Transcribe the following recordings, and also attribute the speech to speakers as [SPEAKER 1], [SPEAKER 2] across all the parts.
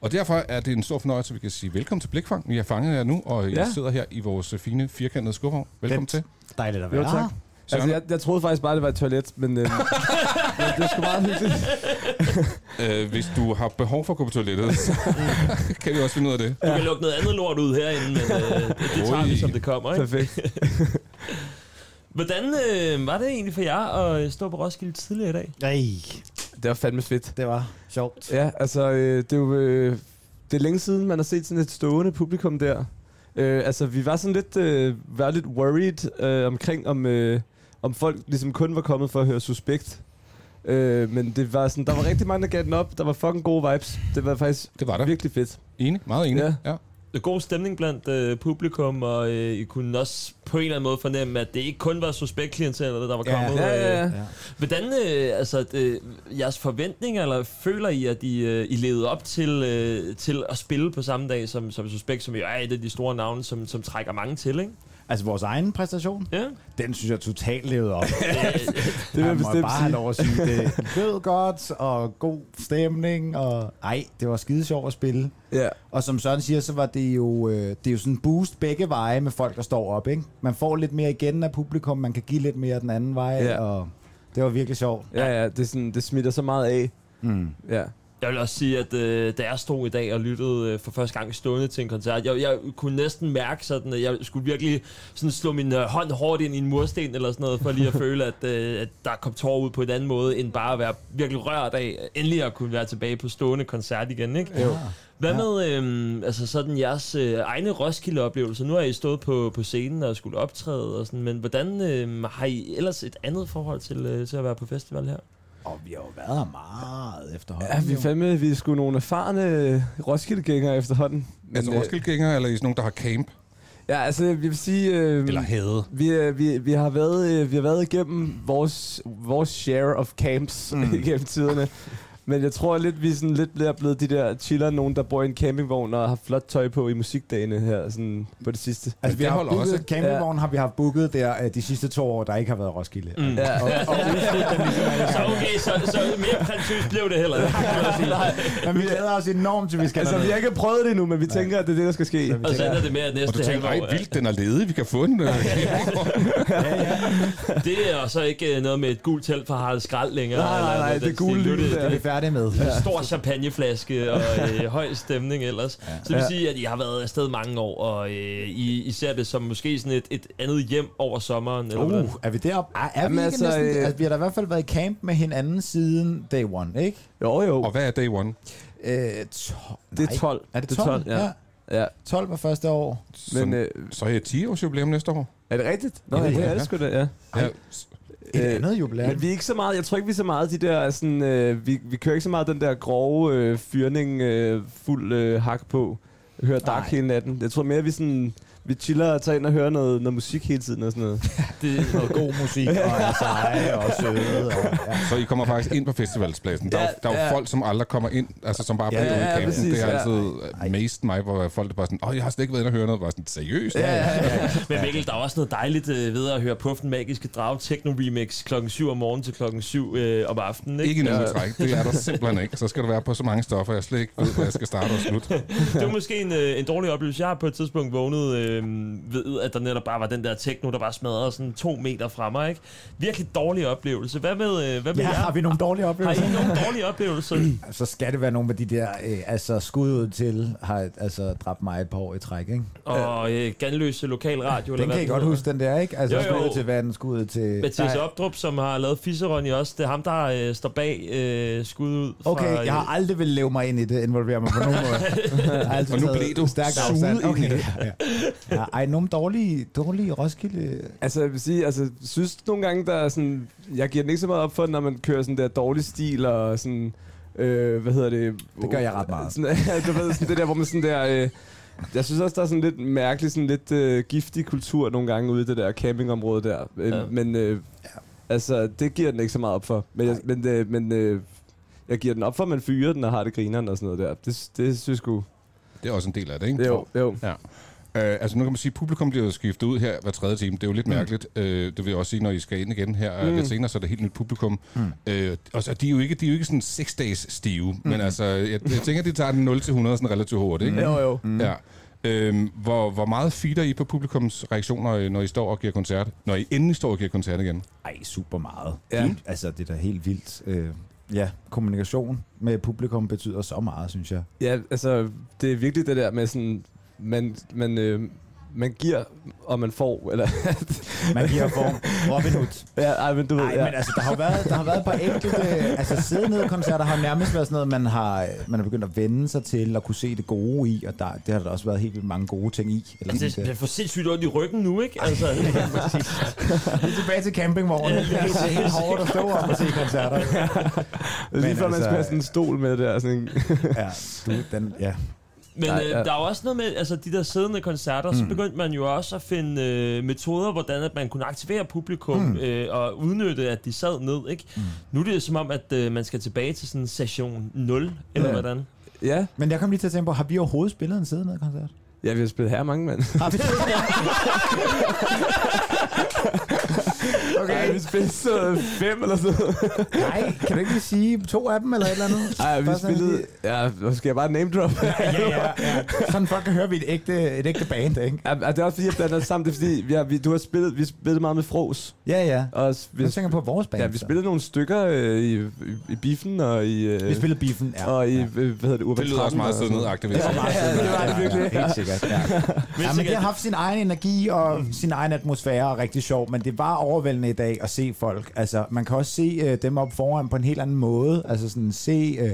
[SPEAKER 1] Og derfor er det en stor fornøjelse, at vi kan sige velkommen til Blikfang. Vi har fanget jer nu, og jeg
[SPEAKER 2] Ja.
[SPEAKER 1] sidder her i vores øh, fine, firkantede skuffer. Velkommen
[SPEAKER 3] Nemt.
[SPEAKER 1] til.
[SPEAKER 3] Dejligt at
[SPEAKER 2] Jo,
[SPEAKER 3] være
[SPEAKER 2] tak.
[SPEAKER 3] her.
[SPEAKER 1] Søren?
[SPEAKER 2] Altså, jeg, jeg troede faktisk bare, det var et toilet, men, øh, men det er sgu meget hyggeligt.
[SPEAKER 1] Øh, hvis du har behov for at gå på toilettet, så kan vi også finde ud af det.
[SPEAKER 4] Du kan lukke noget andet lort ud herinde, men øh, det, det tager vi,
[SPEAKER 1] Oj.
[SPEAKER 4] som det kommer. Ikke?
[SPEAKER 2] Perfekt.
[SPEAKER 4] Hvordan øh, var det egentlig for jer at øh, stå på Roskilde tidligere i dag?
[SPEAKER 3] Ej,
[SPEAKER 2] Det var fandme fedt.
[SPEAKER 3] det var sjovt.
[SPEAKER 2] Ja, altså, øh, det er jo øh, det er længe siden, man har set sådan et stående publikum der. Øh, altså, vi var sådan lidt, øh, var lidt worried øh, omkring, om, øh, om folk ligesom kun var kommet for at høre Suspekt. Øh, men det var sådan, der var rigtig mange, der gav den op. Der var fucking gode vibes. Det var faktisk
[SPEAKER 1] Det var der.
[SPEAKER 2] virkelig fedt.
[SPEAKER 1] Enig. Meget enig. Ja.
[SPEAKER 2] Ja.
[SPEAKER 1] ja.
[SPEAKER 4] God stemning blandt øh, publikum, og øh, I kunne også på en eller anden måde fornemme, at det ikke kun var suspektklienterne, der var
[SPEAKER 3] Ja,
[SPEAKER 4] kommet. øh.
[SPEAKER 3] Ja.
[SPEAKER 4] Hvordan, øh, altså, øh, jeres forventninger, eller føler I, at I, øh, I levede op til, øh, til at spille på samme dag som, som suspekt, som jo er et af de store navne, som, som trækker mange til, ikke?
[SPEAKER 3] Altså vores egen præstation,
[SPEAKER 4] Ja.
[SPEAKER 3] den synes jeg totalt levede op.
[SPEAKER 2] Det vil jeg
[SPEAKER 3] må
[SPEAKER 2] bestemt
[SPEAKER 3] bare have
[SPEAKER 2] sige.
[SPEAKER 3] lov at sige. Det lød godt, og god stemning, og ej, det var skide sjovt at spille.
[SPEAKER 2] Ja.
[SPEAKER 3] Og som Søren siger, så var det jo, øh, det er jo sådan en boost begge veje med folk, der står op. Ikke? Man får lidt mere igen af publikum, man kan give lidt mere den anden vej,
[SPEAKER 2] Ja.
[SPEAKER 3] ja. og det var virkelig sjovt.
[SPEAKER 2] Ja, ja, det, er sådan, det smitter så meget af.
[SPEAKER 3] Mm.
[SPEAKER 2] Ja.
[SPEAKER 4] Jeg vil også sige, at øh, da jeg stod i dag og lyttede øh, for første gang stående til en koncert, jeg, jeg kunne næsten mærke sådan, at jeg skulle virkelig sådan slå min øh, hånd hårdt ind i en mursten eller sådan noget, for lige at føle, at, øh, at der kom tårer ud på en anden måde, end bare at være virkelig rørt af øh, endelig at kunne være tilbage på stående koncert igen, ikke?
[SPEAKER 3] Jo.
[SPEAKER 4] Hvad
[SPEAKER 3] Ja.
[SPEAKER 4] med øhm, altså sådan jeres øh, egne Roskilde-oplevelser? Nu har I stået på, på scenen og skulle optræde og sådan, men hvordan øhm, har I ellers et andet forhold til, øh, til at være på festival her?
[SPEAKER 3] Og vi har jo været her meget efterhånden.
[SPEAKER 2] Ja, vi er
[SPEAKER 3] jo.
[SPEAKER 2] fandme, vi er sgu nogle erfarne øh, Roskilde-gængere efterhånden. Men,
[SPEAKER 1] Altså
[SPEAKER 2] øh,
[SPEAKER 1] Roskilde-gængere, eller I er sådan nogen, der har camp?
[SPEAKER 2] Ja, altså, jeg vil sige... Øh,
[SPEAKER 1] Eller hede?
[SPEAKER 2] vi, øh, vi, vi, har været, øh, vi har været igennem vores, vores share of camps mm. igennem tiderne. Men jeg tror lidt, vi er sådan lidt bliver blevet de der chiller, nogen der bor i en campingvogn og har flot tøj på i musikdagene her sådan på det sidste.
[SPEAKER 3] Altså, vi
[SPEAKER 1] det
[SPEAKER 3] har
[SPEAKER 1] holder
[SPEAKER 3] booket,
[SPEAKER 1] også.
[SPEAKER 3] også. Campingvogn har vi haft booket der øh, de sidste to år, der ikke har været Roskilde. Mm.
[SPEAKER 2] Ja, og, og,
[SPEAKER 4] Så okay, så, så mere prætentiøst blev det heller ikke. kan man sige.
[SPEAKER 3] Men vi glæder os enormt til, vi skal
[SPEAKER 2] altså, vi har ikke prøvet det endnu, men vi tænker, at det er det, der skal ske.
[SPEAKER 4] Og så ender det med, at
[SPEAKER 1] Og du
[SPEAKER 4] næste
[SPEAKER 1] tænker, ej,
[SPEAKER 4] halvår...
[SPEAKER 1] vildt, den er ledig, vi kan få den. øh."
[SPEAKER 4] er- Det er og så ikke øh, noget med et gult telt fra Harald Skrald længere.
[SPEAKER 2] Nej, nej,
[SPEAKER 4] eller
[SPEAKER 2] nej,
[SPEAKER 4] noget
[SPEAKER 2] det
[SPEAKER 4] den
[SPEAKER 2] gule
[SPEAKER 4] stil. Nu er
[SPEAKER 2] lys
[SPEAKER 4] det-
[SPEAKER 2] der.
[SPEAKER 3] vi er færdige med. Ja.
[SPEAKER 4] Stor champagneflaske og øh, høj stemning ellers. Ja. Så det vil sige, at I har været afsted mange år, og øh, I, I ser det som måske sådan et, et andet hjem over sommeren. Eller
[SPEAKER 3] Uh,
[SPEAKER 4] hvordan?
[SPEAKER 3] er vi deroppe? Ej, er
[SPEAKER 2] Jamen,
[SPEAKER 3] vi ikke
[SPEAKER 2] altså,
[SPEAKER 3] altså, næsten,
[SPEAKER 2] øh,
[SPEAKER 3] altså, vi har da i hvert fald været i camp med hinanden siden day one, ikke?
[SPEAKER 2] Jo,
[SPEAKER 1] Og
[SPEAKER 2] jo.
[SPEAKER 1] hvad er day one?
[SPEAKER 3] Øh, to-
[SPEAKER 2] Det
[SPEAKER 3] nej.
[SPEAKER 2] er 12.
[SPEAKER 3] Er det 12?
[SPEAKER 2] ja. ja.
[SPEAKER 3] 12 var første år.
[SPEAKER 2] Men øh,
[SPEAKER 1] Så er jeg 10 års jubilæum næste år.
[SPEAKER 2] er det rigtigt? Nå, ja, det er det sgu da, ja.
[SPEAKER 1] Ja.
[SPEAKER 3] Et
[SPEAKER 2] Øh,
[SPEAKER 3] øh, andet jubilæum.
[SPEAKER 2] Men vi er ikke så meget, jeg tror ikke, vi er så meget de der, sådan, øh, vi, vi kører ikke så meget den der grove øh, fyrning, øh, fuld øh, hak på, hører dark
[SPEAKER 3] Nej.
[SPEAKER 2] hele natten. Jeg tror mere, vi sådan, vi chiller og tager ind og hører noget, noget musik hele tiden og sådan noget.
[SPEAKER 4] Det,
[SPEAKER 3] Noget god musik, og er seje, og søde. Og, ja.
[SPEAKER 1] Så I kommer faktisk ind på festivalspladsen. Der, er jo-
[SPEAKER 2] Ja,
[SPEAKER 1] der er jo
[SPEAKER 2] ja.
[SPEAKER 1] folk, som aldrig kommer ind, altså som bare
[SPEAKER 3] Ja,
[SPEAKER 1] bliver
[SPEAKER 2] ja,
[SPEAKER 1] ude i
[SPEAKER 2] ja,
[SPEAKER 1] campen.
[SPEAKER 2] præcis,
[SPEAKER 1] Det har
[SPEAKER 2] ja.
[SPEAKER 1] altid mest mig, hvor folk er bare sådan, åh, jeg har slet ikke været inde og høre noget. Bare sådan, seriøst?
[SPEAKER 4] men Mikkel, der er også noget dejligt øh, ved at høre Puffen Magiske Drag Techno Remix klokken 7 om morgenen til klokken 7 øh, om aftenen. Ikke?
[SPEAKER 1] Ikke noget træk. Det er der simpelthen ikke. Så skal du være på så mange stoffer, jeg slet ikke ved, hvor jeg skal starte og slutte.
[SPEAKER 4] Det var måske en, øh, en dårlig oplevelse. Jeg har på et tidspunkt vågnet øh, ved, at der netop bare var den der techno, der bare smadrede sådan to meter fra mig. Ikke? Virkelig dårlig oplevelse. Hvad med, øh, hvad med
[SPEAKER 3] ja,
[SPEAKER 4] jer?
[SPEAKER 3] har vi nogle dårlige
[SPEAKER 4] Har
[SPEAKER 3] oplevelser?
[SPEAKER 4] I nogle dårlige oplevelser?
[SPEAKER 3] Så skal det være nogle af de der øh, altså, skud ud til, har altså, dræbt mig et par år i træk, ikke?
[SPEAKER 4] Og øh, ganløse lokalradio.
[SPEAKER 3] Den kan I godt huske, den der, ikke? Altså,
[SPEAKER 4] Jo,
[SPEAKER 3] jo,
[SPEAKER 4] jo.
[SPEAKER 3] jo. skud ud til vand, skud ud til...
[SPEAKER 4] Mathias
[SPEAKER 3] Nej.
[SPEAKER 4] Opdrup, som har lavet Fisseronny også. Det er ham, der øh, står bag øh, skud ud fra... øh,
[SPEAKER 3] Okay, jeg har aldrig vil leve mig ind i det, involvere mig på nogen måde. Jeg har altid
[SPEAKER 1] Og nu
[SPEAKER 3] taget
[SPEAKER 1] blev du
[SPEAKER 3] stærkt
[SPEAKER 1] suget
[SPEAKER 3] afstand.
[SPEAKER 1] ind i
[SPEAKER 3] okay.
[SPEAKER 1] det.
[SPEAKER 3] Ja, ja. ja, ej, nogle dårlige, dårlige Roskilde...
[SPEAKER 2] Altså, jeg vil sige, altså, synes nogle gange, der er sådan, jeg giver den ikke så meget op for, når man kører sådan der dårlig stil og sådan, øh, hvad hedder det?
[SPEAKER 3] Det gør jeg ret meget.
[SPEAKER 2] Sådan, du ved, sådan det der, hvor man sådan der, øh, jeg synes også, der er sådan lidt mærkelig, sådan lidt øh, giftig kultur nogle gange ude i det der campingområde der. Øh,
[SPEAKER 4] Ja.
[SPEAKER 2] ja. Men øh, altså, det giver den ikke så meget op for. Men, jeg, men, øh, men øh, jeg giver den op for, at man fyrer den og har det grineren og sådan noget der. Det, det synes jeg sgu.
[SPEAKER 1] Det er også en del af det, ikke?
[SPEAKER 2] Jo, jo.
[SPEAKER 1] Ja. altså nu kan man sige, at publikum bliver jo skiftet ud her hver tredje time. Det er jo lidt
[SPEAKER 2] Mm.
[SPEAKER 1] mærkeligt. Øh, det vil jeg også sige, når I skal ind igen her mm. lidt senere, så er det helt nyt publikum. Mm. Øh, og så, de, er jo ikke, de er jo ikke sådan seks dages stive, mm. men altså, jeg, jeg tænker, de tager den 0-100 sådan relativt hurtigt. Ikke?
[SPEAKER 2] Jo, jo.
[SPEAKER 1] Mm. Ja. Øhm, hvor, hvor meget feeder I på publikums reaktioner, øh, når I står og giver koncert? Når I endelig står og giver koncert igen?
[SPEAKER 3] Ej, super meget.
[SPEAKER 2] Ja.
[SPEAKER 3] Altså, det er da helt vildt. Øh, ja, kommunikation med publikum betyder så meget, synes jeg.
[SPEAKER 2] Ja, altså, det er virkelig det der med sådan, man, man, øh, man giver, og man får, eller...
[SPEAKER 3] Man giver form. Robin Hood.
[SPEAKER 2] ja, ej, men du ved,
[SPEAKER 3] Nej,
[SPEAKER 2] ja.
[SPEAKER 3] men altså, der har jo været, der har været et par enkelte altså, siddende koncerter, har nærmest været sådan noget, man har, øh, man har begyndt at vende sig til og kunne se det gode i, og der, det har der også været helt vildt mange gode ting i. Eller sådan
[SPEAKER 4] Altså, det,
[SPEAKER 3] der.
[SPEAKER 4] det får sindssygt ondt i ryggen nu, ikke? Altså, ja, præcis.
[SPEAKER 3] Tilbage til campingvognen.
[SPEAKER 4] Ja,
[SPEAKER 3] Det er helt hårdt at stå op og se koncerter.
[SPEAKER 2] Lige før man
[SPEAKER 3] altså-
[SPEAKER 2] skal have sådan en stol med der, sådan en...
[SPEAKER 3] Ja, du, den, ja.
[SPEAKER 4] Men
[SPEAKER 2] Nej,
[SPEAKER 4] øh,
[SPEAKER 2] ja.
[SPEAKER 4] der er jo også noget med, altså de der siddende koncerter, mm. så begyndte man jo også at finde øh, metoder, hvordan at man kunne aktivere publikum mm. øh, og udnytte, at de sad ned, ikke? Mm. Nu er det jo som om, at øh, man skal tilbage til sådan session 0, eller
[SPEAKER 2] Ja.
[SPEAKER 4] hvordan?
[SPEAKER 2] ja.
[SPEAKER 3] Men jeg kom lige til at tænke på, har vi overhovedet spillet en siddende koncert?
[SPEAKER 2] ja, vi har spillet her mange mand.
[SPEAKER 3] Har vi?
[SPEAKER 2] Okay. Ej, vi spillede så fem eller sådan noget.
[SPEAKER 3] Nej, kan du ikke lige sige to af dem eller et eller andet?
[SPEAKER 2] Ej, vi
[SPEAKER 3] Bare sådan
[SPEAKER 2] spillede...
[SPEAKER 3] lige-
[SPEAKER 2] Ja, nu skal jeg bare name drop?
[SPEAKER 3] Ja, ja, ja. Sådan folk kan høre, at vi er et ægte, et ægte band, ikke?
[SPEAKER 2] Ja, det er også fordi, jeg blander det sammen. Det er fordi, vi, har, vi, du har spillet, vi spillede meget med Fros.
[SPEAKER 3] Ja, ja.
[SPEAKER 2] Og s- vi,
[SPEAKER 3] Jeg tænker på vores band.
[SPEAKER 2] ja, vi
[SPEAKER 3] så.
[SPEAKER 2] spillede nogle stykker øh, i, i, i Biffen og i... Øh,
[SPEAKER 3] Vi spillede biffen, ja.
[SPEAKER 2] og i, øh, hvad hedder det, Urban
[SPEAKER 1] Det lyder også
[SPEAKER 2] Trappen
[SPEAKER 1] meget
[SPEAKER 2] og sådan
[SPEAKER 1] siddet
[SPEAKER 2] noget.
[SPEAKER 1] nedagtigt. vil jeg
[SPEAKER 2] Ja,
[SPEAKER 1] sige.
[SPEAKER 2] ja, det var det virkelig.
[SPEAKER 3] Ja, helt sikkert. Ja. ja, men det har haft sin egen energi og sin egen atmosfære og rigtig sjov, men det var overvældende i dag at se folk. Altså, man kan også se øh, dem op foran på en helt anden måde. Altså sådan se øh,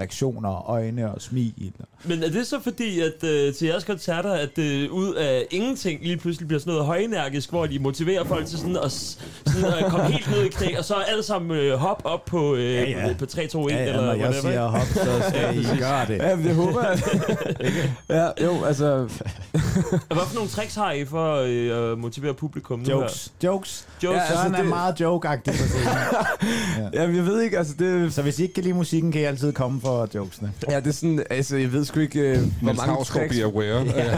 [SPEAKER 3] reaktioner, øjne og smil.
[SPEAKER 4] Men er det så fordi, at øh, til jeres koncerter, at øh, ud af ingenting lige pludselig bliver sådan noget højenergisk, hvor de motiverer folk til sådan at, s- sådan at komme helt ned i knæ, og så alle sammen øh, hop op på, øh, ja,
[SPEAKER 3] ja.
[SPEAKER 4] ja. på 3, 2, 1
[SPEAKER 3] Ja, ja,
[SPEAKER 4] eller
[SPEAKER 3] når jeg
[SPEAKER 4] whatever.
[SPEAKER 3] siger
[SPEAKER 4] ikke?
[SPEAKER 3] hop, så skal I gøre det.
[SPEAKER 2] Ja, men det håber jeg. ja, jo, altså,
[SPEAKER 4] Hvad for nogle tricks har I for øh, at motivere publikum nu her?
[SPEAKER 3] Jokes. Jokes.
[SPEAKER 4] Jokes.
[SPEAKER 2] Ja,
[SPEAKER 3] Ja,
[SPEAKER 2] altså,
[SPEAKER 3] Søren er
[SPEAKER 2] det-
[SPEAKER 3] meget joke-agtig på scenen.
[SPEAKER 2] Jamen, jeg ved ikke, altså det...
[SPEAKER 3] Så hvis I ikke kan lide musikken, kan I altid komme for jokesene.
[SPEAKER 2] Ja, det er sådan, altså, jeg ved sgu ikke, øh, hvor
[SPEAKER 1] Niels
[SPEAKER 2] mange
[SPEAKER 1] Havsgaard
[SPEAKER 2] tricks...
[SPEAKER 1] bliver aware. Ja.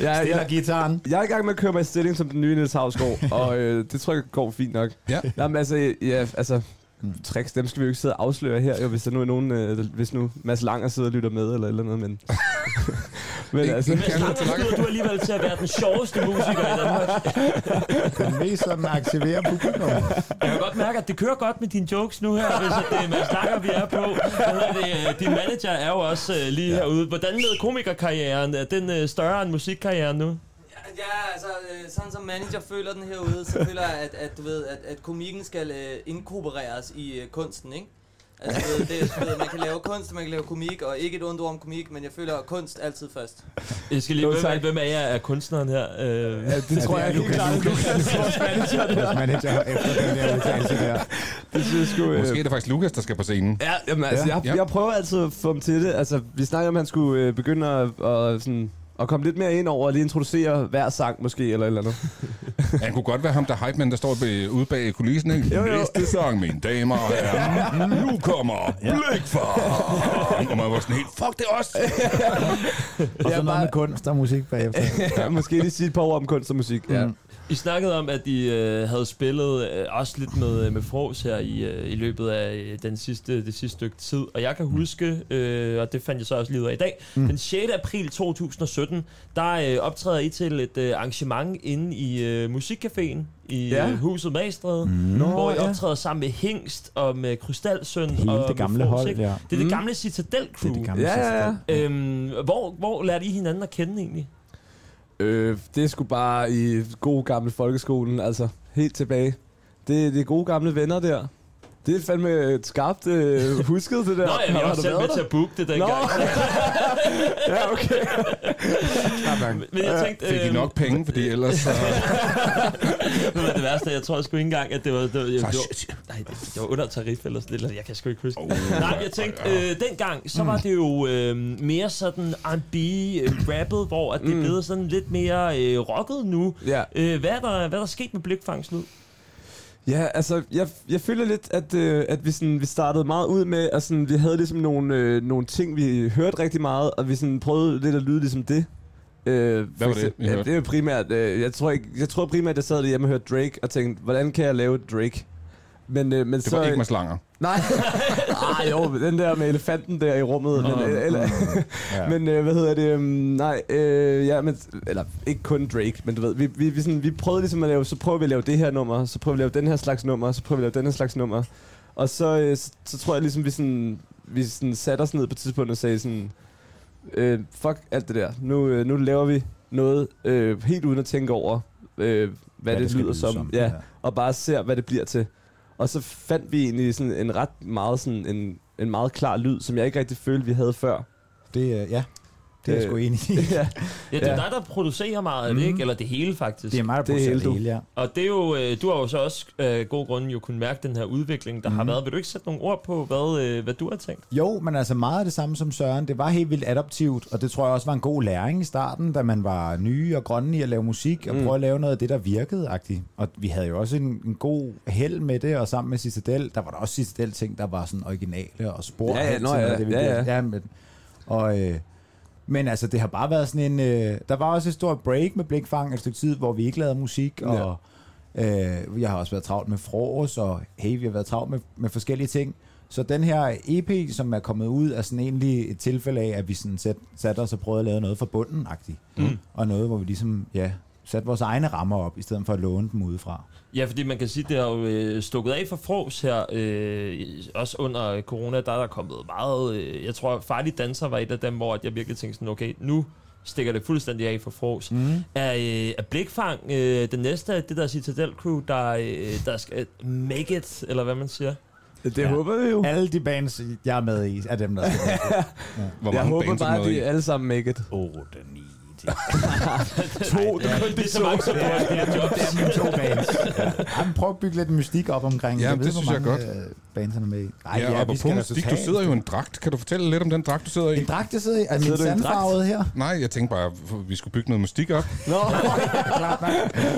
[SPEAKER 2] Jeg,
[SPEAKER 3] Stiller
[SPEAKER 2] jeg,
[SPEAKER 3] gitaren.
[SPEAKER 2] jeg er i gang med at køre mig i stilling som den nye Niels Havsgaard, og øh, det tror jeg går fint nok.
[SPEAKER 1] Ja.
[SPEAKER 2] Jamen, altså, ja, altså,
[SPEAKER 1] Mm.
[SPEAKER 2] tricks, dem skal vi jo ikke sidde og afsløre her, jo, hvis der nu er nogen, øh, der- hvis nu Mads Langer sidder og lytter med, eller et eller andet, men... men
[SPEAKER 1] Ikke-
[SPEAKER 2] altså,
[SPEAKER 1] ikke-
[SPEAKER 4] Men Anders, du- du er alligevel til at være den sjoveste musiker i Danmark.
[SPEAKER 3] Den mest sådan aktiverer publikum.
[SPEAKER 4] Jeg kan godt mærke, at det kører godt med dine jokes nu her, hvis at det er Mads Langer, vi er på. Hvad hedder det, øh, din manager er jo også øh, lige ja. herude. Hvordan med komikerkarrieren? Er den øh, større end musikkarrieren nu?
[SPEAKER 5] Ja, altså, øh, sådan som manager føler den herude, så føler jeg, at, at du ved, at, at komikken skal øh, inkorporeres i øh, kunsten, ikke? Altså, du ved, det, du ved, man kan lave kunst, og man kan lave komik, og ikke et ondt ord om komik, men jeg føler kunst altid først.
[SPEAKER 4] Jeg skal lige
[SPEAKER 2] Jo,
[SPEAKER 4] hvem,
[SPEAKER 2] tak.
[SPEAKER 4] er- hvem af jer er kunstneren her? Øh,
[SPEAKER 2] ja, det tror
[SPEAKER 3] Altså, det er
[SPEAKER 2] jeg helt
[SPEAKER 3] Lukas
[SPEAKER 2] klart,
[SPEAKER 3] Vores manager efter den der udtalelse der.
[SPEAKER 2] det synes jeg sgu... øh,
[SPEAKER 1] Måske er det faktisk Lukas, der skal på scenen.
[SPEAKER 2] Ja, jamen, altså,
[SPEAKER 3] Ja.
[SPEAKER 2] ja.
[SPEAKER 1] Ja.
[SPEAKER 2] Jeg, jeg prøver altid at få ham til det. Altså, vi snakker om, at han skulle øh, begynde at, at, sådan, at komme lidt mere ind over og lige introducere hver sang måske, eller et eller andet.
[SPEAKER 1] Han kunne godt være ham, der hype man, der står ved- ude bag kulissen. Ikke?
[SPEAKER 2] Jo, Mhm. jo.
[SPEAKER 1] Næste sang, mine damer og herrer. Nu kommer Blikfar. Og man var sådan helt, fuck det er os.
[SPEAKER 2] Øh.
[SPEAKER 3] Og så
[SPEAKER 2] Ja,
[SPEAKER 3] noget
[SPEAKER 2] bare-
[SPEAKER 3] med kunst og musik bagefter.
[SPEAKER 2] ja. Måske lige sige et par ord om kunst og musik. Ja.
[SPEAKER 3] Mm.
[SPEAKER 4] I snakkede om, at I øh, havde spillet øh, også lidt med, med Fros her i, øh, i løbet af øh, den sidste, det sidste stykke tid. Og jeg kan huske, øh, og det fandt jeg så også lige ud af i dag, mm. den 6. april 2017, der øh, optræder I til et øh, arrangement inde i øh, Musikcaféen i
[SPEAKER 2] Ja.
[SPEAKER 4] ja. øh, Huset Magstræde, mm.
[SPEAKER 3] Nå,
[SPEAKER 4] hvor I
[SPEAKER 3] ja.
[SPEAKER 4] optræder sammen med Hengst og med Krystalsøn. og
[SPEAKER 3] Hele
[SPEAKER 4] med
[SPEAKER 3] det gamle
[SPEAKER 4] Fros,
[SPEAKER 3] hold,
[SPEAKER 4] ikke?
[SPEAKER 3] ja.
[SPEAKER 4] Det er det
[SPEAKER 2] Mm.
[SPEAKER 4] gamle Citadel
[SPEAKER 3] Det
[SPEAKER 4] Crew.
[SPEAKER 3] er det gamle
[SPEAKER 2] Ja, ja, ja.
[SPEAKER 3] sidste.
[SPEAKER 4] Øhm, hvor, hvor lærte I hinanden at kende egentlig?
[SPEAKER 2] Øh, det er sgu bare i god gamle folkeskolen, altså helt tilbage. Det, det er gode gamle venner der. Det er fandme et skarpt øh, husket, det der.
[SPEAKER 4] Nå, jeg
[SPEAKER 2] Har
[SPEAKER 4] var
[SPEAKER 2] du
[SPEAKER 4] selv
[SPEAKER 2] været
[SPEAKER 4] med
[SPEAKER 2] der?
[SPEAKER 4] til at booke det
[SPEAKER 2] Nå.
[SPEAKER 4] dengang.
[SPEAKER 2] ja, okay.
[SPEAKER 4] Men jeg tænkte...
[SPEAKER 1] Fik I
[SPEAKER 4] øhm,
[SPEAKER 1] nok penge, fordi ellers... øh, Så...
[SPEAKER 4] Det var det værste, jeg tror sgu ikke engang, at det var... Det var, det
[SPEAKER 1] Så-
[SPEAKER 4] var, nej, det, det var under tarif eller sådan et eller andet. Jeg kan sgu ikke huske.
[SPEAKER 1] Oh,
[SPEAKER 4] Nej, jeg tænkte, øh, dengang, så var det jo øh, mere sådan R&B, øh, rappet, hvor at det er blevet sådan lidt mere øh, rocket nu.
[SPEAKER 2] Ja.
[SPEAKER 4] Øh, hvad, er der, hvad er der sket med blikfangslyd?
[SPEAKER 2] Ja, altså, jeg, jeg føler lidt, at, øh, at vi, sådan, vi startede meget ud med, at sådan, vi havde ligesom nogle, øh, nogle ting, vi hørte rigtig meget, og vi sådan prøvede lidt at lyde ligesom det. Øh,
[SPEAKER 1] Hvad var det, I
[SPEAKER 2] ja,
[SPEAKER 1] hørte?
[SPEAKER 2] det er jo primært, øh, jeg, tror ikke, jeg tror primært, jeg sad derhjemme og hørte Drake og tænkte, hvordan kan jeg lave Drake? Men, øh, men
[SPEAKER 1] Det
[SPEAKER 2] så,
[SPEAKER 1] var ikke Mads Langer.
[SPEAKER 2] Nej, Ej, Ah, jo, den der med elefanten der i rummet. Men, øh, eller,
[SPEAKER 3] Ja.
[SPEAKER 2] men øh, hvad hedder det? Um, nej, øh, ja, men, eller ikke kun Drake, men du ved, vi, vi, vi, sådan, vi prøvede ligesom at lave, så prøver vi at lave det her nummer, så prøver vi at lave den her slags nummer, så prøver vi at lave den her slags nummer. Og så, øh, så, så tror jeg ligesom, vi, sådan, vi sådan satte os ned på et tidspunkt og sagde sådan, øh, fuck alt det der, nu, øh, nu laver vi noget øh, helt uden at tænke over, øh, hvad, hvad det, det
[SPEAKER 3] skal
[SPEAKER 2] lyder
[SPEAKER 3] lyde
[SPEAKER 2] som. som. Ja, og bare ser, hvad det bliver til. Og så fandt vi egentlig sådan en ret meget, sådan en, en meget klar lyd, som jeg ikke rigtig følte, vi havde før.
[SPEAKER 3] Det, er- ja. det er jeg
[SPEAKER 2] Øh,
[SPEAKER 3] sgu enig i.
[SPEAKER 2] ja.
[SPEAKER 4] Ja, Mm. det er
[SPEAKER 2] Ja.
[SPEAKER 4] dig, der producerer meget af det, ikke? Eller det hele, faktisk.
[SPEAKER 3] Det er meget
[SPEAKER 2] Det er
[SPEAKER 3] procent
[SPEAKER 2] hele,
[SPEAKER 3] det
[SPEAKER 2] du.
[SPEAKER 3] hele, ja.
[SPEAKER 4] Og det er jo, øh, du har jo så også øh, god grund jo kunne mærke den her udvikling, der mm. har været. Vil du ikke sætte nogle ord på, hvad, øh, hvad du har tænkt?
[SPEAKER 3] Jo, men altså meget af det samme som Søren. Det var helt vildt adoptivt, og det tror jeg også var en god læring i starten, da man var nye og grønne i at lave musik, og
[SPEAKER 2] Mm.
[SPEAKER 3] mm. prøve at lave noget af det, der virkede -agtigt. Og vi havde jo også en, en god held med det, og sammen med Citadel, der var der også Citadel-ting, der var sådan originale og spor.
[SPEAKER 2] Ja, ja,
[SPEAKER 3] hen til
[SPEAKER 2] nå,
[SPEAKER 3] noget
[SPEAKER 2] ja,
[SPEAKER 3] af vi
[SPEAKER 2] ja,
[SPEAKER 3] gjorde. ja men, og, øh, men altså, det har bare været sådan en... Øh, der var også et stort break med Blikfang et stykke tid, hvor vi ikke lavede musik, og...
[SPEAKER 2] Ja.
[SPEAKER 3] Øh, jeg har også været travlt med frokost, og hey, vi har været travlt med, med forskellige ting. Så den her EP, som er kommet ud, er sådan egentlig et tilfælde af, at vi sådan sat, satte os og prøvede at lave noget fra bunden mm. Og noget, hvor vi ligesom, ja, satte vores egne rammer op, i stedet for at låne dem udefra.
[SPEAKER 4] Ja, fordi man kan sige, det har jo øh, stukket af for frås her, øh, også under corona, der er der kommet meget, øh, jeg tror, Farlig Danser var et af dem, hvor at jeg virkelig tænkte sådan, okay, nu stikker det fuldstændig af for frås. Mm. Er, øh, er Blikfang øh, den næste af det der Citadel Crew, der, øh, der skal make it, eller hvad man siger?
[SPEAKER 2] Det ja.
[SPEAKER 3] Ja.
[SPEAKER 2] håber vi jo.
[SPEAKER 3] Alle de bands, jeg er med i, er dem, der skal være.
[SPEAKER 1] Hvor
[SPEAKER 2] Jeg
[SPEAKER 1] mange
[SPEAKER 2] håber
[SPEAKER 1] bands er
[SPEAKER 2] bare,
[SPEAKER 1] der
[SPEAKER 2] at
[SPEAKER 1] med i?
[SPEAKER 2] de alle sammen make it.
[SPEAKER 3] Otte, ni, ti.
[SPEAKER 2] To, det er kun
[SPEAKER 4] Det er så mange, som
[SPEAKER 3] Ja,
[SPEAKER 4] bruger
[SPEAKER 3] det er
[SPEAKER 4] job.
[SPEAKER 3] det er mine to bands. Ja. Jamen, prøv at bygge lidt mystik op omkring.
[SPEAKER 1] Ja,
[SPEAKER 3] jeg ved,
[SPEAKER 1] det
[SPEAKER 3] hvor
[SPEAKER 1] synes jeg
[SPEAKER 3] mange øh, bands han er med i. Ej,
[SPEAKER 1] Ja, og på
[SPEAKER 3] vi skal
[SPEAKER 1] punkt, Stig, du
[SPEAKER 3] resultat-
[SPEAKER 1] sidder jo i en dragt. Kan du fortælle lidt om den dragt, du sidder i?
[SPEAKER 3] En dragt, jeg sidder i? Er
[SPEAKER 2] Sidder
[SPEAKER 3] min
[SPEAKER 2] du i en dragt?
[SPEAKER 3] sandfarvede her?
[SPEAKER 1] Nej, jeg tænkte bare, at vi skulle bygge noget mystik op.
[SPEAKER 2] Nå,
[SPEAKER 3] Klart nok.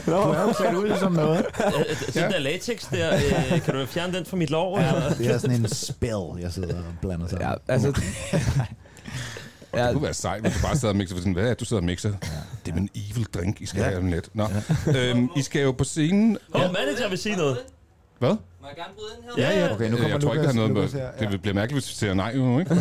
[SPEAKER 2] nå.
[SPEAKER 3] Du er jo sat ud som noget.
[SPEAKER 4] Øh, Den der latex der, øh, kan du fjerne den fra mit lår? Ja. Eller?
[SPEAKER 3] Det er sådan en spil, jeg sidder og blander sig.
[SPEAKER 2] Ja,
[SPEAKER 3] Ja.
[SPEAKER 2] altså... Ja,
[SPEAKER 1] Det kunne være sejt, hvis du bare sad og mixer. for Sådan, hvad er det, du sidder og mixer? Det er en evil drink, I skal
[SPEAKER 3] Ja.
[SPEAKER 1] have om lidt. Nå. Øhm, I skal jo på scenen...
[SPEAKER 4] Åh, oh, manager vil sige noget.
[SPEAKER 1] Hvad?
[SPEAKER 5] Må jeg gerne bryde ind her?
[SPEAKER 4] Ja, ja.
[SPEAKER 3] Okay, nu
[SPEAKER 1] Øh,
[SPEAKER 3] kommer
[SPEAKER 1] Jeg tror ikke, det
[SPEAKER 3] Lukas,
[SPEAKER 1] har noget
[SPEAKER 3] Lukas her.
[SPEAKER 1] med... Det bliver mærkeligt, hvis vi siger nej, jo, ikke?
[SPEAKER 5] nu,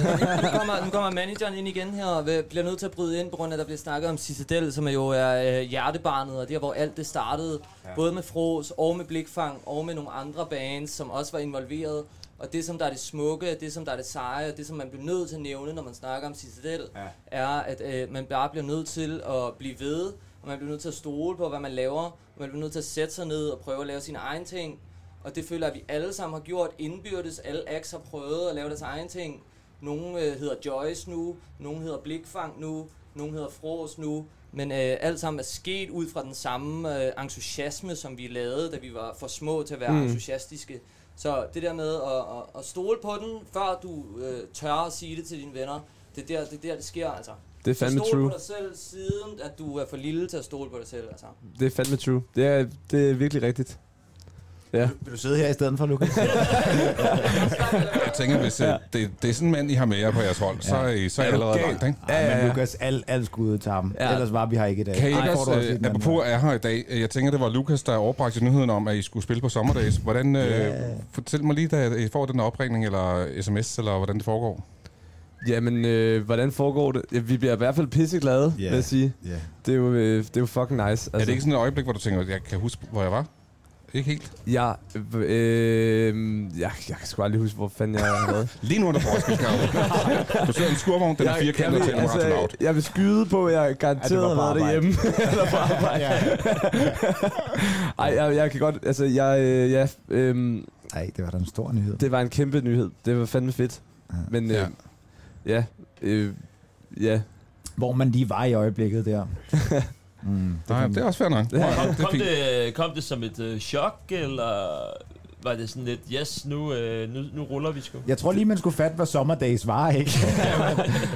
[SPEAKER 5] kommer, nu kommer manageren ind igen her og vil- bliver nødt til at bryde ind, på grund af, at der bliver snakket om Citadel, som er jo er øh, hjertebarnet, og der, hvor alt det startede. Ja. Både med Fros og med Blikfang og med nogle andre bands, som også var involveret. Og det, som der er det smukke, og det, som der er det seje, og det, som man bliver nødt til at nævne, når man snakker om Citadel, ja. er, at øh, man bare bliver nødt til at blive ved, og man bliver nødt til at stole på, hvad man laver, og man bliver nødt til at sætte sig ned og prøve at lave sine egne ting. Og det føler jeg, at vi alle sammen har gjort indbyrdes. Alle acts har prøvet at lave deres egen ting. Nogle øh, hedder Joyce nu, nogle hedder Blikfang nu, nogle hedder Fros nu. Men øh, alt sammen er sket ud fra den samme øh, entusiasme, som vi lavede, da vi var for små til at være mm. entusiastiske. Så det der med at, at, at stole på den, før du øh, tør at sige det til dine venner, det er der, det, er der, det sker altså.
[SPEAKER 2] det er fandme
[SPEAKER 5] Så stol
[SPEAKER 2] true.
[SPEAKER 5] på dig selv, siden at du er for lille til at stole på dig selv. Altså.
[SPEAKER 2] Det er fandme true. Det er, det er virkelig rigtigt. Ja.
[SPEAKER 3] Vil du sidde her i stedet for, Lukas?
[SPEAKER 1] Jeg tænker, hvis øh, det, det er sådan en mand, I har med jer på jeres hold, så er I så er I
[SPEAKER 2] Er du
[SPEAKER 1] allerede
[SPEAKER 2] gal?
[SPEAKER 1] langt, ikke?
[SPEAKER 3] Ja,
[SPEAKER 2] ja,
[SPEAKER 3] ja,
[SPEAKER 2] ja.
[SPEAKER 3] Men Lukas, alt al skud til ham.
[SPEAKER 2] Ja.
[SPEAKER 3] Ja. Ellers var vi her ikke i dag.
[SPEAKER 1] Kan I
[SPEAKER 3] Ej,
[SPEAKER 1] ikke
[SPEAKER 3] får du
[SPEAKER 1] også, øh,
[SPEAKER 3] lidt en anden
[SPEAKER 1] apropos
[SPEAKER 3] vej.
[SPEAKER 1] er her i dag, øh, jeg tænker, det var Lukas, der overbragte nyheden om, at I skulle spille på sommerdags. Hvordan, øh, fortæl mig lige, da I får den her opringning, eller sms, eller hvordan det foregår.
[SPEAKER 3] Altså-
[SPEAKER 2] Jamen, øh, hvordan foregår det? Ja, vi bliver i hvert fald pisseglade, yeah.
[SPEAKER 3] Ja.
[SPEAKER 2] vil jeg sige.
[SPEAKER 3] Ja.
[SPEAKER 2] Det er jo, øh, det er jo fucking nice. Altså.
[SPEAKER 1] Er det ikke sådan et øjeblik, hvor du tænker, jeg kan huske, hvor jeg var? Ikke helt.
[SPEAKER 2] Jeg, øh, jeg, jeg kan sgu aldrig huske, hvor fanden jeg har været.
[SPEAKER 1] Lige nu er der forskelskab. Du sidder i en skurvogn, den er
[SPEAKER 2] jeg, jeg,
[SPEAKER 1] firkantet og
[SPEAKER 2] vil,
[SPEAKER 1] taler altså, meget
[SPEAKER 2] altså, jeg vil skyde på, at jeg garanteret
[SPEAKER 3] Ja,
[SPEAKER 2] har
[SPEAKER 3] det var
[SPEAKER 2] været
[SPEAKER 3] på
[SPEAKER 2] derhjemme. eller på arbejde. Ej, jeg, jeg kan godt... Altså, jeg, øh, ja, øh,
[SPEAKER 3] Ej, det var da en stor nyhed.
[SPEAKER 2] det var en kæmpe nyhed. Det var fandme fedt.
[SPEAKER 3] Ja.
[SPEAKER 2] Men øh,
[SPEAKER 1] Ja.
[SPEAKER 2] ja, ja, øh, ja.
[SPEAKER 3] Hvor man lige var i øjeblikket der. Mm,
[SPEAKER 1] Nej, det er også fair nok.
[SPEAKER 2] Ja.
[SPEAKER 1] Det
[SPEAKER 4] Kom,
[SPEAKER 1] er
[SPEAKER 4] kom,
[SPEAKER 1] fint.
[SPEAKER 4] det, kom det som et øh, chok, eller var det sådan lidt, yes, nu, øh, nu, nu ruller vi sgu.
[SPEAKER 3] Jeg tror lige, man skulle fatte, hvad sommerdags var, ikke?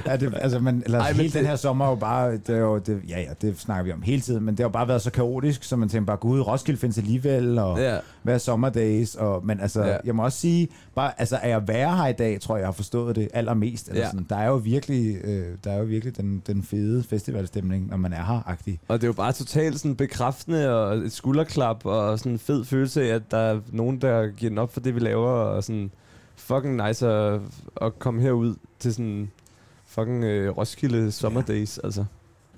[SPEAKER 3] er det, altså, man, eller Ej,
[SPEAKER 2] Ej, men
[SPEAKER 3] hele
[SPEAKER 2] det-
[SPEAKER 3] den her sommer er jo bare... Det er jo, det, ja, ja, det snakker vi om hele tiden, men det har jo bare været så kaotisk, så man tænker bare, gud, Roskilde findes alligevel, og ja.
[SPEAKER 2] Ja.
[SPEAKER 3] hvad er sommerdags? Og, men altså, ja.
[SPEAKER 2] Ja.
[SPEAKER 3] jeg må også sige, bare, altså, er jeg værre her i dag, tror jeg, jeg har forstået det allermest. Eller ja.
[SPEAKER 2] Ja.
[SPEAKER 3] sådan. Der er jo virkelig, øh, der er jo virkelig den, den fede festivalstemning, når man er her-agtig.
[SPEAKER 2] Og det er jo bare totalt sådan bekræftende og et skulderklap og sådan en fed følelse af, at der er nogen, der giver den op for det, vi laver. Og sådan fucking nice at, at komme herud til sådan fucking øh, Roskilde Sommerdays, altså.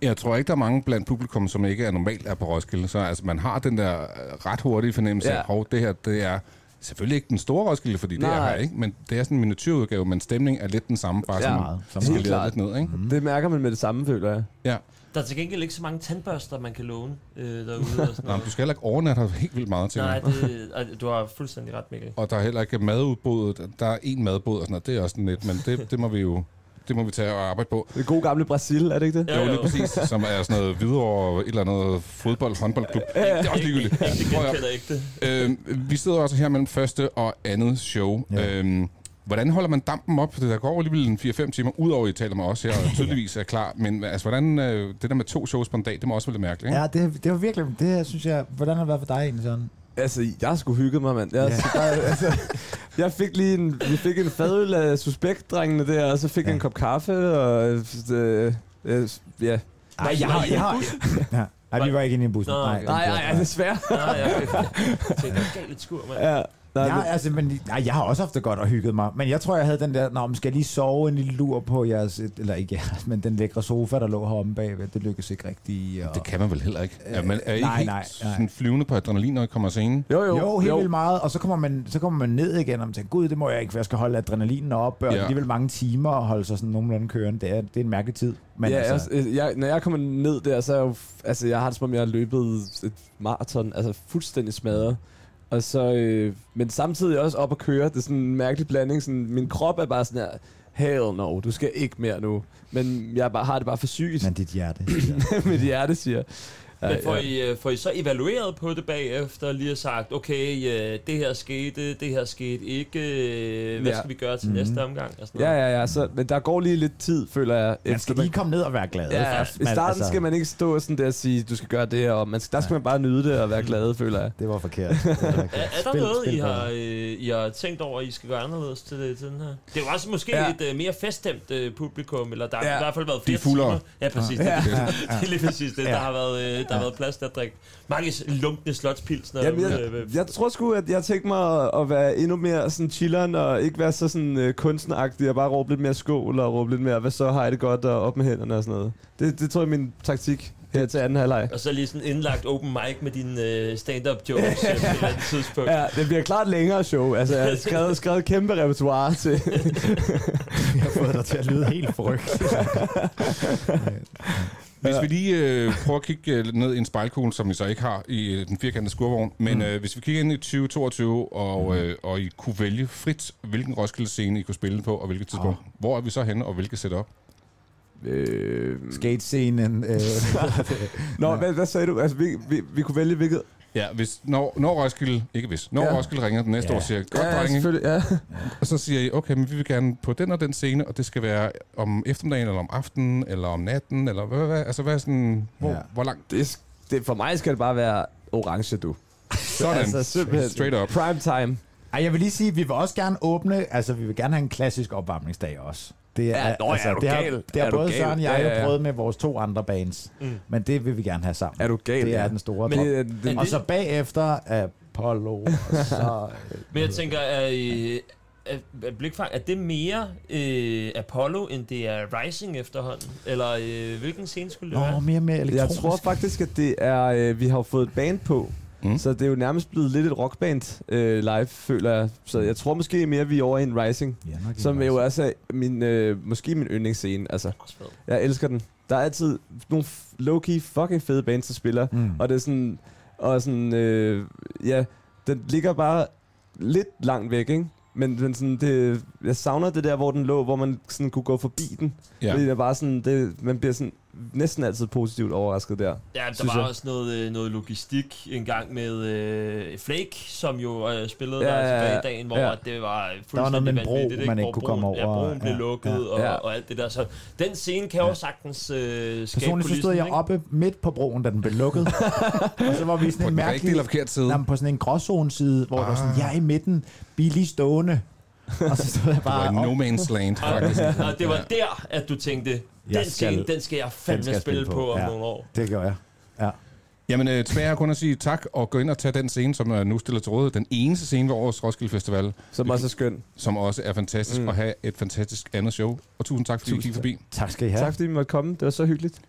[SPEAKER 1] Jeg tror ikke, der er mange blandt publikum, som ikke er normalt er på Roskilde. Så altså, man har den der øh, ret hurtige fornemmelse af,
[SPEAKER 2] Ja.
[SPEAKER 1] hov, det her det er selvfølgelig ikke den store Roskilde, fordi det er
[SPEAKER 2] Nej.
[SPEAKER 1] her, ikke? men det er sådan en miniatyrudgave, men stemningen er lidt den samme, bare
[SPEAKER 2] Ja.
[SPEAKER 1] sådan
[SPEAKER 3] Meget.
[SPEAKER 1] skaleret
[SPEAKER 2] Helt klart.
[SPEAKER 1] lidt ned. Ikke?
[SPEAKER 2] Det mærker man med det samme, føler jeg.
[SPEAKER 1] Ja.
[SPEAKER 4] Der er til gengæld ikke så mange tandbørster, man kan låne øh, derude. Og sådan
[SPEAKER 1] Nå, men
[SPEAKER 4] noget.
[SPEAKER 1] du skal heller ikke overnatte her helt vildt meget til.
[SPEAKER 4] Nej, det, ej, du har fuldstændig ret, Mikkel.
[SPEAKER 1] Og der er heller ikke madudbuddet. Der er én madbod og sådan noget. Det er også sådan lidt, men det, det må vi jo det må vi tage og arbejde på.
[SPEAKER 2] Det gode gamle Brasil, er det ikke det?
[SPEAKER 4] Ja,
[SPEAKER 1] Jo,
[SPEAKER 4] jo.
[SPEAKER 1] lige præcis, som er sådan noget videre og et eller andet fodbold, håndboldklub. Det er også ligegyldigt.
[SPEAKER 4] Ikke, ikke,
[SPEAKER 1] Prøv at-
[SPEAKER 4] genkender ikke det.
[SPEAKER 1] Øh, vi sidder også her mellem første og andet show.
[SPEAKER 3] Ja.
[SPEAKER 1] Ja. Øhm, hvordan holder man dampen op? Det der går alligevel en 4-5 timer, udover at I taler med os her, og tydeligvis er klar. Men altså, hvordan, øh, det der med to shows på en dag, det må også være lidt mærkeligt. Ikke?
[SPEAKER 3] Ja, det, det var virkelig, det her, synes jeg, hvordan har det været for dig egentlig sådan?
[SPEAKER 2] Altså, jeg skulle hygge mig, mand. Jeg,
[SPEAKER 3] Ja.
[SPEAKER 2] yeah. bare, altså, jeg fik lige en, vi fik en fadøl af suspektdrengene der, og så fik jeg en kop kaffe, og øh, øh, ja.
[SPEAKER 4] Nej, jeg har- jeg har-
[SPEAKER 3] Ja. Nej, vi var ikke inde i en bus.
[SPEAKER 4] Nå,
[SPEAKER 3] Nej,
[SPEAKER 2] Nej, nej, nej, desværre.
[SPEAKER 4] Nej, jeg, jeg, jeg, jeg gav lidt skur, mand.
[SPEAKER 2] Ja, nej,
[SPEAKER 3] Jeg,
[SPEAKER 2] men-
[SPEAKER 3] altså, men, nej, jeg har også haft det godt og hygget mig, men jeg tror, jeg havde den der, nå, men skal jeg lige sove en lille lur på jeres, eller ikke jeres, men den lækre sofa, der lå heromme bagved, det lykkedes ikke rigtigt. Og...
[SPEAKER 1] Det kan man vel heller ikke. Ja, man er
[SPEAKER 3] Øh,
[SPEAKER 1] ikke
[SPEAKER 3] nej,
[SPEAKER 1] helt
[SPEAKER 3] nej, nej.
[SPEAKER 1] Sådan flyvende på adrenalin, når I kommer af scenen.
[SPEAKER 2] jo, jo,
[SPEAKER 3] Jo, helt jo. vildt meget, og så kommer, man, så kommer man ned igen, og man tænker, gud, det må jeg ikke, for jeg skal holde adrenalinen op, og
[SPEAKER 1] Ja.
[SPEAKER 3] ja. alligevel mange timer at holde sig sådan nogenlunde kørende, det er, det er en mærkelig tid. Men
[SPEAKER 2] Men ja,
[SPEAKER 3] altså,
[SPEAKER 2] altså. jeg, jeg, når jeg kommer ned der, så er jeg jo, f- altså, jeg har det som om, jeg har løbet et maraton, altså fuldstændig smadret. Og så, øh, men samtidig også op at køre, det er sådan en mærkelig blanding, sådan, min krop er bare sådan her, hell no, du skal ikke mere nu. Men jeg bare, har det bare for sygt,
[SPEAKER 3] men dit hjerte. Ja.
[SPEAKER 2] mit hjerte siger.
[SPEAKER 4] Men får, I, øh, får I så evalueret på det bagefter, og lige har sagt, okay, øh, det her skete, det her skete ikke, øh, hvad
[SPEAKER 2] Ja.
[SPEAKER 4] skal vi gøre til mm-hmm.
[SPEAKER 1] Mm.
[SPEAKER 4] næste omgang? Og sådan
[SPEAKER 2] Ja,
[SPEAKER 4] noget.
[SPEAKER 2] ja, ja, så, men der går lige lidt tid, føler jeg.
[SPEAKER 3] Man skal lige komme ned og være glad. altså-
[SPEAKER 2] Ja, ja,
[SPEAKER 3] ikke?
[SPEAKER 2] i starten skal man ikke stå sådan der og sige, du skal gøre det her, og man skal, der skal man bare nyde det og være glad, føler jeg.
[SPEAKER 3] Det var forkert. Det var forkert.
[SPEAKER 4] Er, er der
[SPEAKER 3] Spil-
[SPEAKER 4] noget,
[SPEAKER 3] spil
[SPEAKER 4] I
[SPEAKER 3] bedre.
[SPEAKER 4] har, øh, I har tænkt over, at I skal gøre anderledes til, det, til den her? Det er jo også måske ja.
[SPEAKER 2] Ja.
[SPEAKER 4] et øh, mere feststemt øh, publikum, eller der har
[SPEAKER 2] Ja.
[SPEAKER 4] i hvert fald været
[SPEAKER 1] De
[SPEAKER 4] flere
[SPEAKER 1] er fuldere.
[SPEAKER 4] timer. Ja, præcis. Ja. Det, det er lige præcis det. Der har været, øh, der har været plads til at drikke mange lunkne slotspilsner.
[SPEAKER 2] Jamen,
[SPEAKER 4] ude,
[SPEAKER 2] jeg,
[SPEAKER 4] øh, ved-
[SPEAKER 2] jeg tror sgu, at jeg tænkte mig at- at være endnu mere sådan chilleren, og ikke være så sådan øh, kunstneragtig, og bare råbe lidt mere skål, og råbe lidt mere, hvad så har jeg det godt, og op med hænderne og sådan noget. Det, det tror jeg er min taktik her til anden halvleg.
[SPEAKER 4] Og så lige sådan indlagt open mic med dine øh, stand-up jokes øh, på et eller andet tidspunkt.
[SPEAKER 2] Ja, det bliver klart længere show. Altså, jeg har skrevet, skrevet kæmpe repertoire til.
[SPEAKER 3] Vi har fået dig til at lyde helt frygteligt.
[SPEAKER 1] Hvis vi lige øh, prøver at kigge øh, lidt ned i en spejlkugle, som vi så ikke har i øh, den firkantede skurvogn, men mm. øh, hvis vi kigger ind i 2022, og, øh, og I kunne vælge frit, hvilken Roskilde-scene I kunne spille på, og hvilket tidspunkt, oh. hvor er vi så henne, og hvilket setup?
[SPEAKER 2] øh,
[SPEAKER 3] Skate-scenen. Øh,
[SPEAKER 2] Nå, hvad, hvad sagde du? Altså, vi, vi, vi kunne vælge hvilket...
[SPEAKER 1] Ja, hvis, når, når Roskilde, ikke hvis, når ja.
[SPEAKER 2] Ja.
[SPEAKER 1] Roskilde ringer den næste
[SPEAKER 3] Ja.
[SPEAKER 1] ja. år, siger godt ja, drenge,
[SPEAKER 2] selvfølgelig. Ja.
[SPEAKER 1] og så siger I, okay, men vi vil gerne på den og den scene, og det skal være om eftermiddagen, eller om aftenen, eller om natten, eller hvad, hvad altså hvad er sådan, hvor,
[SPEAKER 3] Ja.
[SPEAKER 1] ja. hvor langt,
[SPEAKER 2] Det, sk- det, for mig skal det bare være orange, du.
[SPEAKER 1] sådan,
[SPEAKER 2] altså,
[SPEAKER 1] altså,
[SPEAKER 2] simpelthen.
[SPEAKER 1] straight up.
[SPEAKER 2] Prime time.
[SPEAKER 3] ej, jeg vil lige sige, at vi vil også gerne åbne, altså vi vil gerne have en klassisk opvarmningsdag også. Det altså,
[SPEAKER 2] Ja, nå, er du
[SPEAKER 3] det har,
[SPEAKER 2] gal?
[SPEAKER 3] det har
[SPEAKER 2] Er du
[SPEAKER 3] både
[SPEAKER 2] gal?
[SPEAKER 3] Søren og jeg
[SPEAKER 2] Ja,
[SPEAKER 3] ja,
[SPEAKER 2] ja, ja.
[SPEAKER 3] prøvet med vores to andre bands, mm. men det vil vi gerne have sammen.
[SPEAKER 2] Er du gal?
[SPEAKER 3] det er
[SPEAKER 2] ja.
[SPEAKER 3] den store
[SPEAKER 2] Men
[SPEAKER 3] drøm.
[SPEAKER 2] det, det,
[SPEAKER 4] Men-
[SPEAKER 3] Og så bagefter Apollo, og så...
[SPEAKER 4] Men jeg tænker, at, øh, at, at Blikfang, er det mere øh, Apollo, end det er Rising efterhånden? Eller øh, hvilken scene skulle det
[SPEAKER 3] Nå,
[SPEAKER 4] være?
[SPEAKER 3] mere og mere
[SPEAKER 2] Jeg
[SPEAKER 3] elektronisk.
[SPEAKER 2] tror faktisk, at det er, øh, vi har jo fået et band på,
[SPEAKER 1] Mm.
[SPEAKER 2] mm. så det er jo nærmest blevet lidt et rockband øh, live, føler jeg. Så jeg tror måske mere, at vi er over i en Rising,
[SPEAKER 1] Mm.
[SPEAKER 3] Ja, nok i
[SPEAKER 2] som
[SPEAKER 3] Mars.
[SPEAKER 2] jo også er min, øh, måske min yndlingsscene. Altså,
[SPEAKER 4] Også fedt.
[SPEAKER 2] jeg elsker den. Der er altid nogle f- low-key fucking fede bands, der spiller,
[SPEAKER 3] Mm.
[SPEAKER 2] og det er sådan, og sådan, øh, ja, den ligger bare lidt langt væk, ikke? Men, men sådan, det, jeg savner det der, hvor den lå, hvor man sådan kunne gå forbi den.
[SPEAKER 1] Ja.
[SPEAKER 2] Ja. Fordi det er bare sådan, det, man bliver sådan, næsten altid positivt overrasket der.
[SPEAKER 4] Ja, der
[SPEAKER 2] synes
[SPEAKER 4] var
[SPEAKER 2] jeg.
[SPEAKER 4] også noget, øh, noget logistik en gang med øh, Flake, som jo øh, spillede
[SPEAKER 2] Ja,
[SPEAKER 4] ja, der
[SPEAKER 2] ja, ja.
[SPEAKER 4] tilbage i dagen, hvor
[SPEAKER 2] Ja.
[SPEAKER 4] ja. det var
[SPEAKER 3] Der var noget med en
[SPEAKER 4] fuldstændig
[SPEAKER 3] bro,
[SPEAKER 4] vanvittigt.
[SPEAKER 3] man
[SPEAKER 4] Hvor
[SPEAKER 3] ikke kunne komme
[SPEAKER 4] broen-
[SPEAKER 3] over,
[SPEAKER 4] Ja, broen blev
[SPEAKER 3] ja,
[SPEAKER 4] lukket
[SPEAKER 3] ja.
[SPEAKER 4] Og,
[SPEAKER 2] Ja.
[SPEAKER 4] og alt det der. Så den scene kan jo også sagtens øh, skabe
[SPEAKER 3] Personligt så stod
[SPEAKER 4] kulissen,
[SPEAKER 3] jeg
[SPEAKER 4] ikke?
[SPEAKER 3] oppe midt på broen, da den blev lukket. og så var vi sådan
[SPEAKER 1] På den
[SPEAKER 3] en
[SPEAKER 1] rigtige
[SPEAKER 3] mærkelig...
[SPEAKER 1] eller forkerte side.
[SPEAKER 3] Jamen, på sådan en gråzone-side, hvor ah. der var sådan,
[SPEAKER 1] Ah.
[SPEAKER 3] jeg er i midten, billig stående. Og så stod jeg
[SPEAKER 1] Det var
[SPEAKER 3] bare...
[SPEAKER 1] i
[SPEAKER 3] op.
[SPEAKER 1] no man's land, faktisk.
[SPEAKER 4] Og det var der, at du tænkte, den
[SPEAKER 3] skal-
[SPEAKER 4] scene, den skal jeg fandme
[SPEAKER 3] den skal jeg
[SPEAKER 4] spille,
[SPEAKER 3] spille på,
[SPEAKER 4] på, om
[SPEAKER 3] ja.
[SPEAKER 4] nogle år.
[SPEAKER 3] Det gjorde jeg. Ja.
[SPEAKER 1] Jamen, øh, tilbage er kun at sige tak, og gå ind og tage den scene, som er nu stillet til rådighed. Den eneste scene ved årets Roskilde Festival,
[SPEAKER 2] Som også er skøn.
[SPEAKER 1] som også er fantastisk, mm. og have et fantastisk andet show. Og tusind tak, fordi I
[SPEAKER 2] Tusind
[SPEAKER 1] kiggede forbi.
[SPEAKER 3] Tak skal I have.
[SPEAKER 2] Ja. Tak fordi vi måtte komme. Det var så hyggeligt.